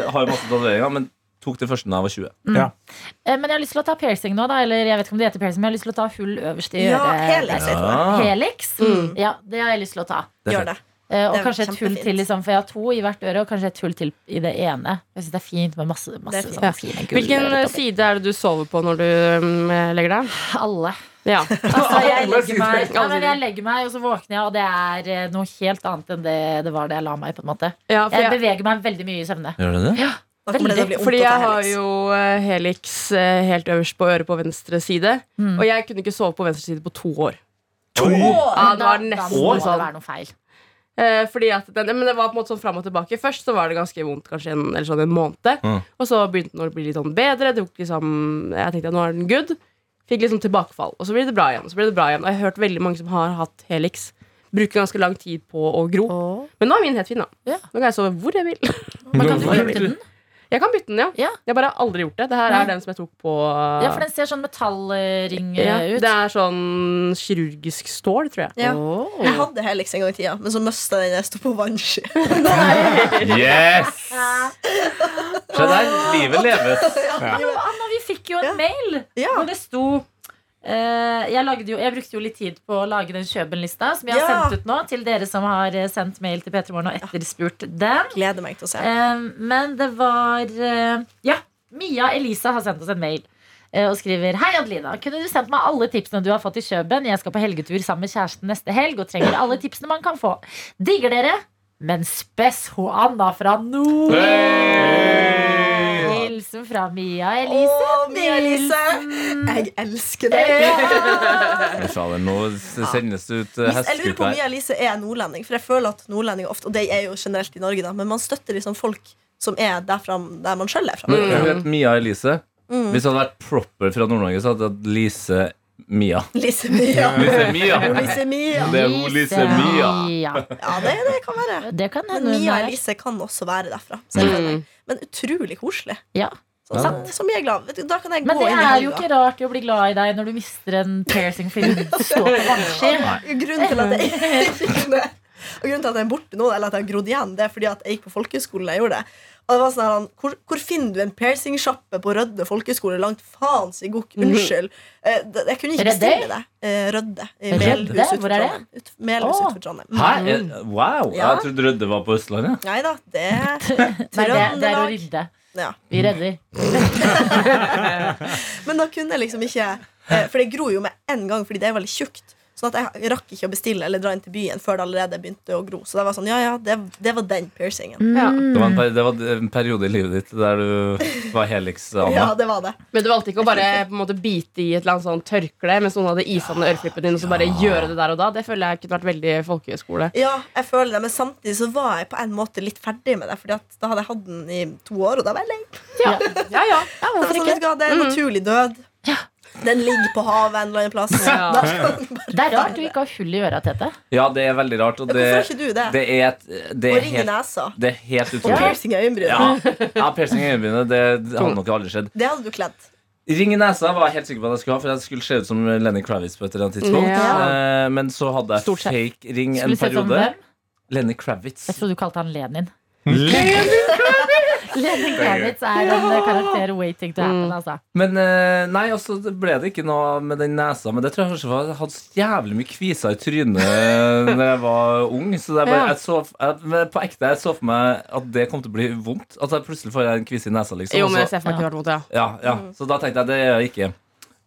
Jeg har jo masse tatoveringer, men tok det første da jeg var 20.
Eh, Men jeg har lyst til å ta piercing nå, da. Eller jeg vet ikke om det heter piercing, men jeg har lyst til å ta hull øverst i
Ja,
øret.
helix. heter det.
Ah,
Helix? Ja, det har jeg lyst til å ta.
det er
Gjør
fett.
det.
Eh, og
Det er
kanskje et hull
kjempefint.
til, liksom, for jeg har to i hvert øre, og kanskje et hull til i det ene. Jeg synes det er fint med masse, masse
Det er fint.
sånne fine gull
Hvilken eh,
øretopper.
side er det du sover på når du mm, legger deg?
Alle.
Ja.
Altså, jeg legger
sider.
meg, ja,
Alle
men
sider.
jeg legger meg, og så våkner jeg, og det er eh, noe helt annet enn det det var da jeg la meg, på en måte.
ja for
Jeg
jeg,
beveger meg veldig mye i søvne.
Gjør det det?
Da kommer det til å bli vondt
fordi
å ta
jeg har
helix.
jo eh, Helix eh, helt øverst på øret på venstre side. Og jeg kunne ikke sove på venstre side på to år. Ja, det
da
var nesten
må det
sånn.
være noe feil.
Eh, fordi at den, men det var på en måte sånn fram og tilbake. Først så var det ganske vondt, kanskje en, eller sånn en måned.
Mm.
Og så begynte den å bli litt sånn bedre. Det tok liksom, jeg tenkte at nå er den good. Fikk liksom tilbakefall. Og så blir det bra igjen. Og så blir det bra igjen Og jeg har hørt veldig mange som har hatt Helix, bruker ganske lang tid på å gro. Men nå er min helt fin, da.
Ja.
Nå kan jeg sove hvor jeg vil.
Men kan du kutte den?
Jeg kan bytte den, ja.
Ja.
Jeg bare har aldri gjort det. Det her
Nei.
er den som jeg tok på
Ja, for den ser sånn metallring eh,
Ja,
ut.
Det er sånn kirurgisk stål, tror jeg.
Ja.
Åh.
Jeg hadde Helix en gang i tida, men så mista den jeg sto på vannski.
Yes! Se der, livet leves.
Jo, Anna, vi fikk jo en
Ja.
mail
Ja.
hvor det sto eh, jeg, lagde jo, jeg brukte jo litt tid på å lage den kjøpenlista som jeg har
Ja.
sendt ut nå til dere som har eh, sendt mail til P3 Morgen og etterspurt den.
Gleder meg til å se.
Eh, men det var eh, Ja, Mia Elisa har sendt oss en mail. eh, Og skriver Hei Adelina, kunne du sendt meg alle tipsene du har fått i Kjøben? Jeg skal på helgetur sammen med kjæresten neste helg og trenger alle tipsene man kan få. Digger dere? Men spes ho Anna fra nord! Hilsen fra Mia Elise.
Å, Mia Elise!
Nilsen.
Jeg elsker deg.
Fy fader, Nå sendes det ut eh,
Hvis jeg lurer på
hesteskute
om
her.
Mia Elise er nordlending, for jeg føler at nordlendinger ofte Og det er jo generelt i Norge, da, men man støtter liksom folk som er derfra, der man sjøl er fra.
Men Hun het Mia Elise.
Mm.
Hvis det hadde vært proper fra Nord-Norge, så hadde det hatt Lise Mia.
Lise Mia.
Lise Mia.
Lise Mia.
Det er hun Lise Mia.
Mia.
Ja, det, det kan være.
Det kan
Men
hende hun
Mia
er.
Elise kan også være derfra. selvfølgelig. Men utrolig koselig.
Ja.
Sånn, sant? Som jeg er glad Vet du, Da kan jeg
Men
gå
det
inn i
er jo
helga.
ikke rart i å bli glad i deg når du mister en piercing fordi du står på vannski.
Grunnen til at jeg Og grunnen til at jeg er borte nå, eller at jeg har grodd igjen, det er fordi at jeg gikk på folkehøyskolen da jeg gjorde det. Og det var sånn her, han, hvor, hvor finner du en piercingsjappe på Rødde folkehøyskole? Langt faen si gokk, unnskyld. Eh, det- Jeg kunne ikke
Mhm. Rødde?
bestille det. Eh, Rødde. i
Rødde?
Melhus utenfor
Hvor er det?
Trondheim. Ut, Melhus
Å.
utenfor Trondheim.
Hæ? Eh, Wow!
Ja.
Jeg trodde Rødde var på Østlandet.
Nei da, det er
Nei, det, det er å
Trøndelag.
rydde.
Ja.
Vi redder.
Men da kunne jeg liksom ikke eh, For det gror jo med en gang, fordi det er veldig tjukt. Sånn at jeg rakk ikke å bestille eller dra inn til byen før det allerede begynte å gro. Så det var sånn, ja ja, det, det var den piercingen.
Ja.
Mm.
Det var, en per, det var en periode i livet ditt der du var Helix-Anna.
Ja, det var det.
Men du valgte ikke å bare på en måte bite i et eller annet sånn tørkle mens noen hadde isa ned øreflippen din, og så bare gjøre det der og da. Det føler jeg kunne vært veldig folkehøyskole.
Ja, jeg føler det, men samtidig så var jeg på en måte litt ferdig med det. Fordi at da hadde jeg hatt den i to år, og da var jeg lei.
Ja. Ja, ja.
Det var sånn, vet du hva,
Mm.
det er en naturlig død. Den ligger på havet en eller annen plass.
Ja.
Da skal den bare
Det er rart du
være.
ikke har hull i øra, Tete.
Ja, det er veldig rart. Og det,
Hvorfor har ikke du det?
det er, et- det
Og
er
ring i
helt,
nesa.
det er helt
Og
utrolig.
piercing i øyenbrynet.
Ja, ja piercing i øyenbrynet, det, det hadde nok aldri skjedd.
Det hadde du kledd.
Ring i nesa var jeg helt sikker på at jeg skulle ha, for jeg skulle se ut som Lenny Kravitz på et eller annet tidspunkt.
Ja.
Eh, Men så hadde jeg
Stort sett.
fake ring en
Skulle sett om
periode.
hvem.
Lenny Kravitz.
Jeg trodde du kalte han Lenin. Lenin Kravitz er en eh, karakter waiting to happen,
Mm.
altså.
Men eh, nei, og så ble det ikke noe med den nesa. Men det tror jeg kanskje var Jeg hadde så jævlig mye kviser i trynet da jeg var ung. Så det er bare,
Ja.
jeg så, jeg, men på ekte jeg så for meg at det kom til å bli vondt. At jeg plutselig får en kvise i nesa, liksom.
Jo,
og
men
så-
jeg ser for meg ikke vært mot det. ja.
Ja, ja.
Mm.
Så da tenkte jeg det gjør jeg ikke.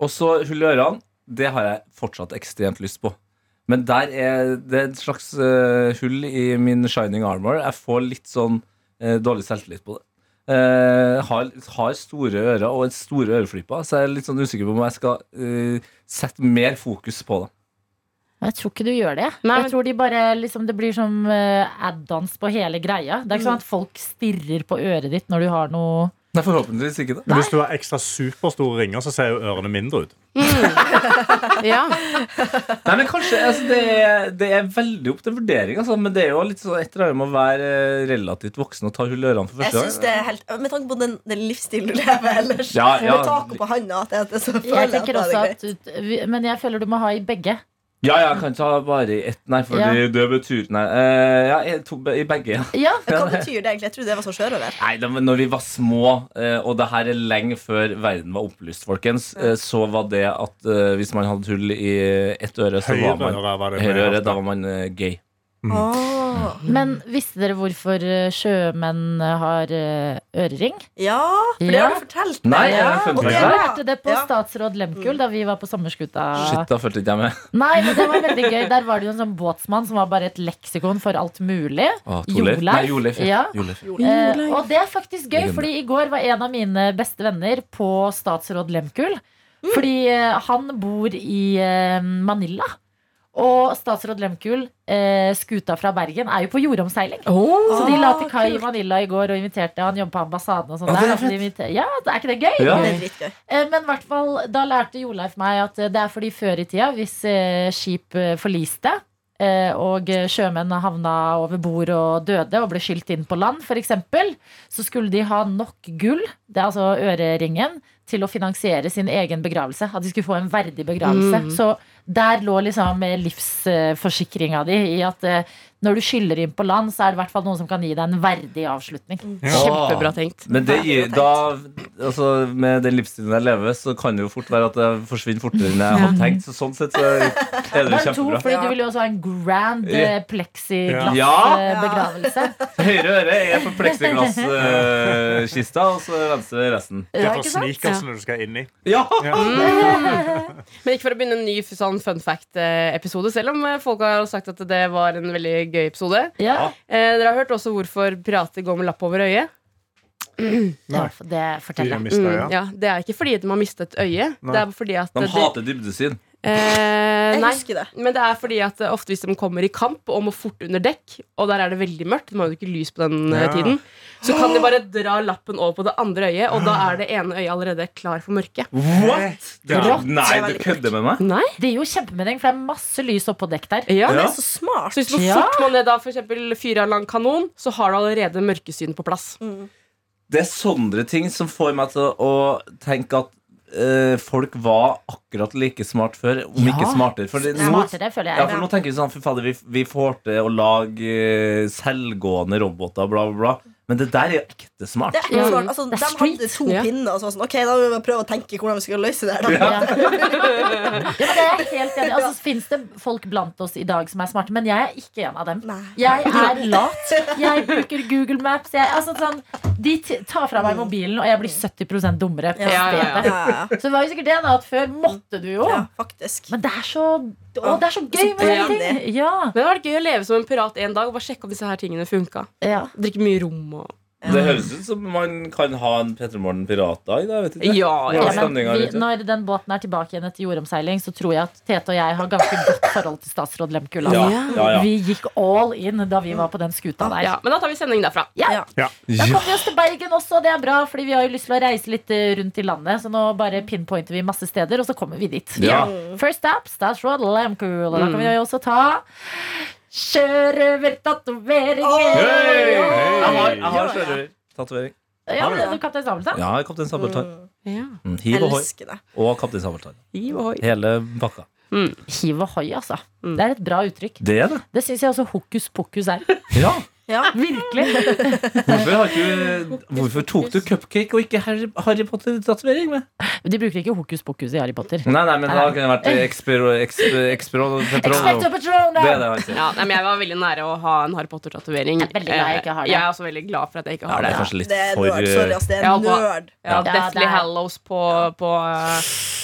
Og så hull i ørene. Det har jeg fortsatt ekstremt lyst på. Men der er det et slags eh, hull i min shining armor. Jeg får litt sånn eh, dårlig selvtillit på det. Eh, har, har store ører og store øreflipper, så jeg er litt sånn usikker på om jeg skal eh, sette mer fokus på det.
Jeg tror ikke du gjør det.
Nei, men-
jeg tror de bare, liksom, Det blir som eh, add-ons på hele greia. Det er ikke sånn at folk stirrer på øret ditt når du har noe
Nei, forhåpentligvis ikke det.
Hvis du har ekstra superstore ringer, så ser jo ørene mindre ut.
Ja.
Nei, men kanskje, altså, det, er- det er veldig opp til vurdering, altså, men det er jo litt sånn et eller annet med å være eh, relativt voksen og ta hull i ørene for
Jeg
første gang.
synes det er helt, Med tanke på den, den livsstilen du lever ellers,
Ja, ja.
med taco på handa at jeg, så føler
Jeg
jeg
tenker
at det
også
er greit.
at vi- Men jeg føler du må ha i begge.
Ja, jeg kan ta bare i ett, nei, fordi
Ja.
det betyr Nei, eh, ja, i to, i begge, ja.
Ja,
Hva betyr det egentlig? Jeg trodde det var sånn sjørøver.
Nei, da men når vi var små, eh, og det her er lenge før verden var opplyst, folkens, eh, så var det at eh, hvis man hadde hull i ett øre, så
Høyre
var man
øre var det.
Høyre øre, da var man eh, gay.
Åh.
Men visste dere hvorfor eh, sjømenn har eh, ørering?
Ja, for det
Ja.
har du fortalt.
Nei,
meg.
jeg har funnet
Og det
meg
er
Jeg
bra.
lærte det på
Ja.
statsråd Lehmkuhl da vi var på sommerskuta.
Shit, da følte ikke jeg med.
Nei, men det var veldig gøy Der var det jo en sånn båtsmann som var bare et leksikon for alt mulig.
Å, Torleif. Nei, Joleif. Ja.
Ja.
Joleif.
Eh, og det er faktisk gøy,
Legende.
fordi i går var en av mine beste venner på statsråd Lehmkuhl.
Mm.
Fordi eh, han bor i eh, Manila. Og statsråd Lehmkuhl, eh, skuta fra Bergen, er jo på jordomseiling.
Oh,
Så de la
Ah.
til kai i Manila i går og inviterte Han jobber på ambassaden og sånn.
Å, Ah, det
der,
er
altså, de inviter- ja, er ikke det gøy?
Ja.
Det er dritgøy.
Eh, Men i hvert fall, da lærte Joleif meg at eh, det er fordi før i tida, hvis eh, skip eh, forliste, eh, og sjømenn havna over bord og døde og ble skylt inn på land, f.eks., så skulle de ha nok gull, det er altså øreringen, til å finansiere sin egen begravelse. At de skulle få en verdig begravelse. Så der lå liksom livsforsikringa di i at eh, når du skyller inn på land, så er det i hvert fall noen som kan gi deg en verdig avslutning.
Mm.
Kjempebra tenkt.
Men det gir, da, altså, med den livsstilen jeg lever, så kan det jo fort være at det forsvinner fortere enn jeg hadde tenkt. Så sånn sett så er det jo
Bare to,
kjempebra.
fordi du vil jo også ha en grand eh,
Ja.
plexiglass-begravelse.
Høyre øre er på pleksiglasskista, og så venstre resten.
Det
Ja,
er
ikke
for
sant?
sneakersene du skal inn i.
Ja!
Men ikke for å begynne en ny sånn fun fact-episode, selv om eh, folk har sagt at det var en veldig gøy episode.
Ja.
Eh, dere har hørt også hvorfor pirater går med lapp over øyet.
Ja, for det forteller
Fire
jeg.
mister,
Mm,
ja.
ja, det er ikke fordi de har mistet øyet.
Nei.
Det er fordi at
De
det-
hater dybdesyn.
Eh,
Jeg
nei,
husker det.
men det er fordi at eh, ofte hvis de kommer i kamp og må fort under dekk, og der er det veldig mørkt, de har jo ikke lys på den eh,
Ja.
tiden, så kan de bare dra lappen over på det andre øyet, og da er det ene øyet allerede klar for mørket.
What?!
Ja.
Nei, du kødder med meg?
Nei?
Det gir jo kjempemening, for det er masse lys oppå dekk der.
Ja.
Det er så smart.
Så hvis du
Ja.
fort må ned da for eksempel fyrer en lang kanon, så har du allerede mørkesyn på plass.
Mm.
Det er sånne ting som får meg til å tenke at eh, folk var akkurat like smart før, om
Ja.
ikke smartere. For det, nå,
Smartere, føler
ja,
jeg.
for nå tenker vi sånn Fy fader, vi, vi får til å lage eh, selvgående roboter, bla, bla, bla. Men det der er jo ekte smart.
Det er ikke smart. Altså,
Det
de
er street.
hadde to
Ja.
pinner. Og så var det sånn, ok, da må vi bare prøve å tenke hvordan vi skal løse det. her, Da.
Ja. Ja, men det er jeg helt enig. i. Altså, Fins det folk blant oss i dag som er smarte, men jeg er ikke en av dem.
Nei.
Jeg er lat. Jeg bruker Google Maps. Jeg, altså, sånn, de t tar fra meg mobilen, og jeg blir 70 dummere på
Ja, ja, ja.
stedet.
Ja, ja,
Så det var jo sikkert det da, at før måtte du jo.
ja, faktisk.
Men det er så, å, det er så gøy med
Så
hele ting.
trendy.
Ja,
Men det hadde vært gøy å leve som en pirat en dag og bare sjekke om disse her tingene funka.
ja.
Drikke mye rom og
Det høres ut som man kan ha en Petter Morten Piratdag. da, vet ikke.
Ja, ja.
Ja,
Ja, men
stemninga er
vi,
ute.
når den båten er tilbake igjen etter jordomseiling, så tror jeg at Tete og jeg har ganske godt forhold til statsråd Lehmkuhl. altså.
Ja, ja, ja.
Vi gikk all in da vi var på den skuta der.
ja. Men da tar vi sendingen derfra.
Da kom vi oss til Bergen også, det er bra, fordi vi har jo lyst til å reise litt eh, rundt i landet. Så nå bare pinpointer vi masse steder, og så kommer vi dit.
Ja. Mm.
First up, statsråd Lehmkuhl. Og da kan vi jo også ta Sjørøvertatoveringer.
Hei!
Hei! Jeg har, jeg har skjønner. Tatovering.
Ja, men du Kaptein Sabeltann?
Ja, Kaptein Sabeltann.
Ja.
Mm, Hiv og hoi.
Elsker det.
Og Kaptein Sabeltann.
Hiv ohoi.
Hele pakka.
Hiv og hoi, altså. Det er et bra uttrykk.
Det er det.
Det syns jeg også hokus pokus er.
Ja.
Ja.
Virkelig.
Hvorfor, har ikke, hvorfor tok du cupcake og ikke Harry, Harry Potter-tatovering med?
De bruker ikke hokus pokus i Harry Potter.
Nei, nei, men da kunne det vært Expero... Expero... Expero...
Expecto
Petrolo.
Patronum!
Det er det han sier.
Ja, nei, men Jeg var veldig nære å ha en Harry Potter-tatovering.
Jeg
Eh,
er veldig glad jeg ikke har det.
Jeg er også veldig glad for at jeg ikke
Ja,
har
det
det.
er kanskje litt
Det er
for eh,
nerd. Sorry, ass. Det er
Ja, hva-
nerd.
Ja,
Ja,
Deathly
det er-
Hallows på, på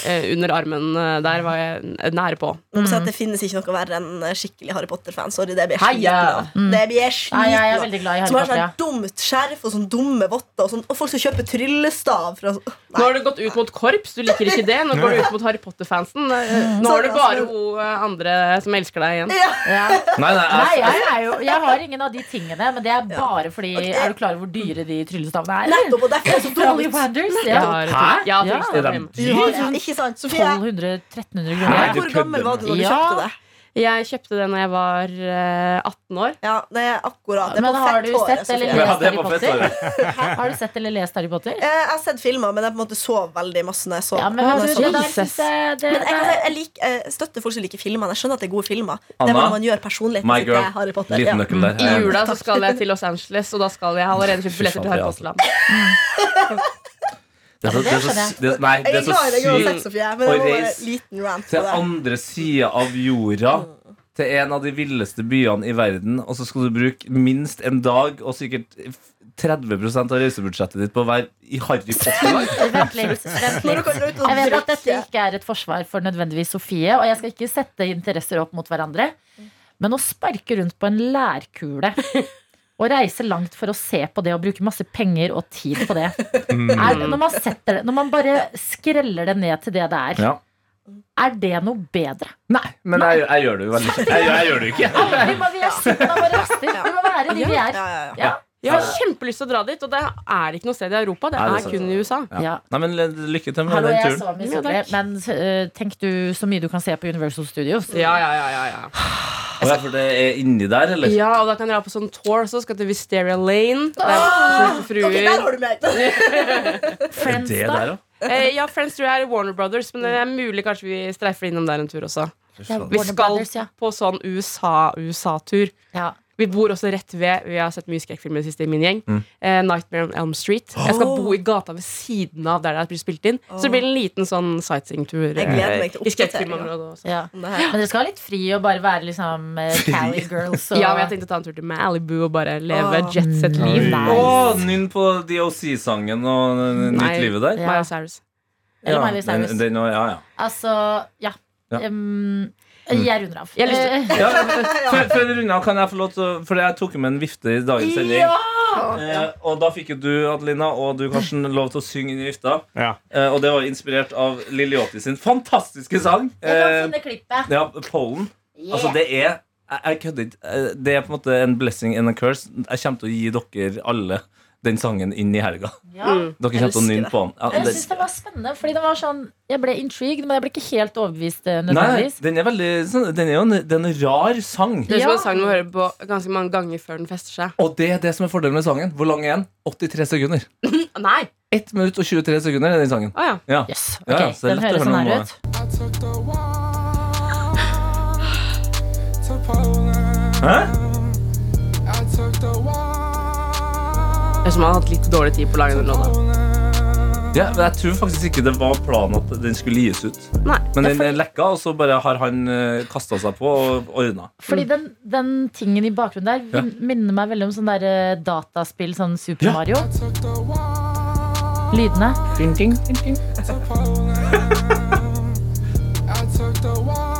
eh, Under armen eh, der var jeg nære på.
Noen
Mm.
sier at Det finnes ikke noe verre enn eh, skikkelig Harry Potter-fan. Sorry, det blir jeg sliten
Heia!
av. Det blir jeg
Mm. Nei, jeg er
sliten av.
veldig glad i Harry
Som har
Potter.
sånn
Ja.
dumt skjerf og sånn dumme votter, og, sånn, og folk skal kjøpe tryllestav. Fra,
Nå har du gått ut mot korps, du liker ikke det. Nå går du ut mot Harry Potter-fansen. Eh, Nå er det bare hun eh, andre som elsker deg igjen.
Ja.
Nei, nei,
Nei,
jeg,
jeg, er jo, jeg har ingen av de tingene, men det er bare fordi Er du klar over hvor dyre de tryllestavene er? eller?
nettopp, og derfor er det så
Fra
dumt.
Ollivanders?
Jeg
Ja.
har- Ja,
Ja.
trist, det er
Er de
hjemme.
Ja, ikke sant, Sofie?
1200-1300 kroner.
Nei, du
Hvor
kødder
gammel var du da du
Ja.
kjøpte det?
jeg kjøpte det når jeg var eh, 18 år.
Ja, det er akkurat. Det er
Men
på
har
fett
du
håret.
sett eller
Sofie.
Ja,
lest
det
Harry
var fett,
Potter? Har du sett eller lest Harry Potter?
Eh, Jeg har sett filmer, men jeg på en måte sov veldig masse. Når jeg sov.
Ja, men
Når
vet
jeg
du, det sånn
sov.
der synes jeg det,
Men jeg, kan si, jeg, lik, jeg støtter folk som liker filmer. Jeg skjønner at det er gode filmer. Det
Anna?
er hvordan man gjør personligheten
My
sin
girl.
til Harry Potter.
Liten
Ja. Mm.
nøkkel der.
I jula så skal jeg til Los Angeles, og da skal jeg jeg har allerede kjøpt billetter til Harry Potter-land.
Det er så, det er så, det er, nei, det
Jeg
er
er
så
glad i deg uansett,
sykt.
Sofie, men det
Og
var bare
reis
en liten rant. på
Til
det.
andre sida av jorda. Til en av de villeste byene i verden, og så skal du bruke minst en dag og sikkert 30 av reisebudsjettet ditt på å være i Harry Potter.
Vent litt. Vent litt.
Når du kan dra ut og
Jeg vet at dette
drikke.
ikke er et forsvar for nødvendigvis Sofie, og jeg skal ikke sette interesser opp mot hverandre, men å sparke rundt på en lærkule og reise langt for å se på det og bruke masse penger og tid på det er, når, man setter det, når man bare skreller det ned til det det er,
Ja.
er det noe bedre?
Nei, men jeg, jeg gjør det jo veldig jeg, gjør- jeg gjør det jo ikke.
Vi må, vi er sittende og bare raster. Vi må være de vi er.
Ja, ja, ja.
Ja.
Jeg har kjempelyst til å dra dit, og det er det ikke noe sted i Europa. Det
Nei, det er
er
sant.
kun i USA.
Ja.
Ja.
Nei, men Lykke til med
Hallo, jeg er
den
så
turen.
misunnelig, men eh, tenk du så mye du kan se på Universal Studios.
Ja, ja, ja, ja, ja.
Å ja, for det er inni der, eller?
Ja, og da kan dere ha på sånn tour også. Skal til Wisteria Lane. Det er flotte fruer.
Ah! Ok, der har du meg!
Friends,
Det
da?
der, ja.
Eh, ja, Friends tror jeg er Warner Brothers, men det er mulig kanskje vi streifer innom der en tur også.
Fy
Det er
faen.
Vi
Warner
skal
Brothers, ja.
på sånn USA-USA-tur.
Ja.
Vi bor også rett ved Vi har sett mye skrekkfilmer i det siste i min gjeng. Eh, Nightmare on Elm Street. Jeg skal bo i gata ved siden av der det blir spilt inn. Så det blir en liten sånn sightseeingtur.
Jeg gleder meg til
eh, i skrekkfilmområdet også.
Ja.
Om det her.
Men dere skal ha litt fri og bare være liksom eh, Cali girls og
Ja, men jeg tenkte å ta en tur til Malibu og bare leve
Åh.
jetset-liv.
Nei.
Å, nynn på DOC-sangen og
Nei.
Nytt livet der.
Ja.
Miley Cyrus.
Eller Miley Cyrus.
Den, den, ja, ja.
Altså, ja.
Ja.
Um, jeg runder av.
Jeg har lyst
Eh,
Ja, før, før vi runder av, kan jeg få lov til å For jeg tok jo med en vifte i dagens sending.
Ja!
Eh, og da fikk jo du, Adelina, og du, Karsten, lov til å synge inn i vifta.
Ja.
Eh, og det var inspirert av Lillioti sin fantastiske sang.
Jeg kan
Eh,
finne klippet.
ja, Pollen. Altså, det er Jeg, jeg kødder ikke. Eh, Det er på en måte en blessing and a curse. Jeg kommer til å gi dere alle den sangen inn i helga.
Ja.
Dere kommer til å
Elsker
nynne
det.
på den. Ja,
Jeg syns det
Mm. det,
var spennende, fordi det var sånn Jeg ble intrigued, men jeg ble ikke helt overbevist eh,
nei,
nødvendigvis.
den er veldig sånn- Den er jo en, det er en rar sang.
Det er som
Ja.
en sang man hører på ganske mange ganger før den fester seg.
Og det er det som er fordelen med sangen. Hvor lang er den? 83 sekunder.
Nei!
1 minutt og 23 sekunder er den sangen.
Å ja.
Ja.
Jøss. ok,
Ja, ja, så det er
den
lett å
høres
høre
sånn
noe
her
om eh,
ut.
Hæ?
Det er som om han har hatt litt dårlig tid på å lage den låta.
Ja, men Jeg tror faktisk ikke det var planen at den skulle gis ut.
Nei.
Men den er lekka, og så bare har han kasta seg på og ordna.
Fordi den, den tingen i bakgrunnen der vin- minner meg veldig om sånn der eh, dataspill, sånn Super
Ja.
Mario. Lydene.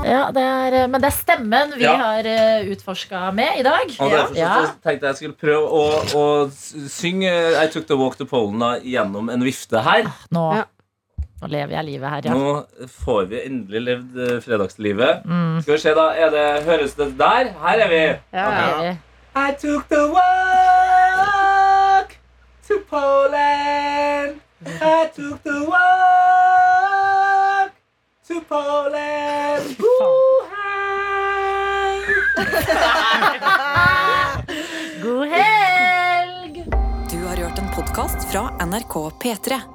Ja, det er, eh, men det er stemmen vi
Ja.
har uh, utforska med i dag.
Og derfor
Ja.
så tenkte jeg skulle prøve å, å s- synge I Took The Walk To Polen da, gjennom en vifte her.
Nå,
Ja.
nå lever jeg livet her, Ah, ja.
Nå får vi endelig levd eh, fredagslivet.
Mm.
Skal vi se, da. Er det, høres det der? Her er vi.
Ja, ja.
Lever.
I took the walk to Poland. I took the walk to Poland.
God helg!
Du har hørt en podkast fra NRK P3.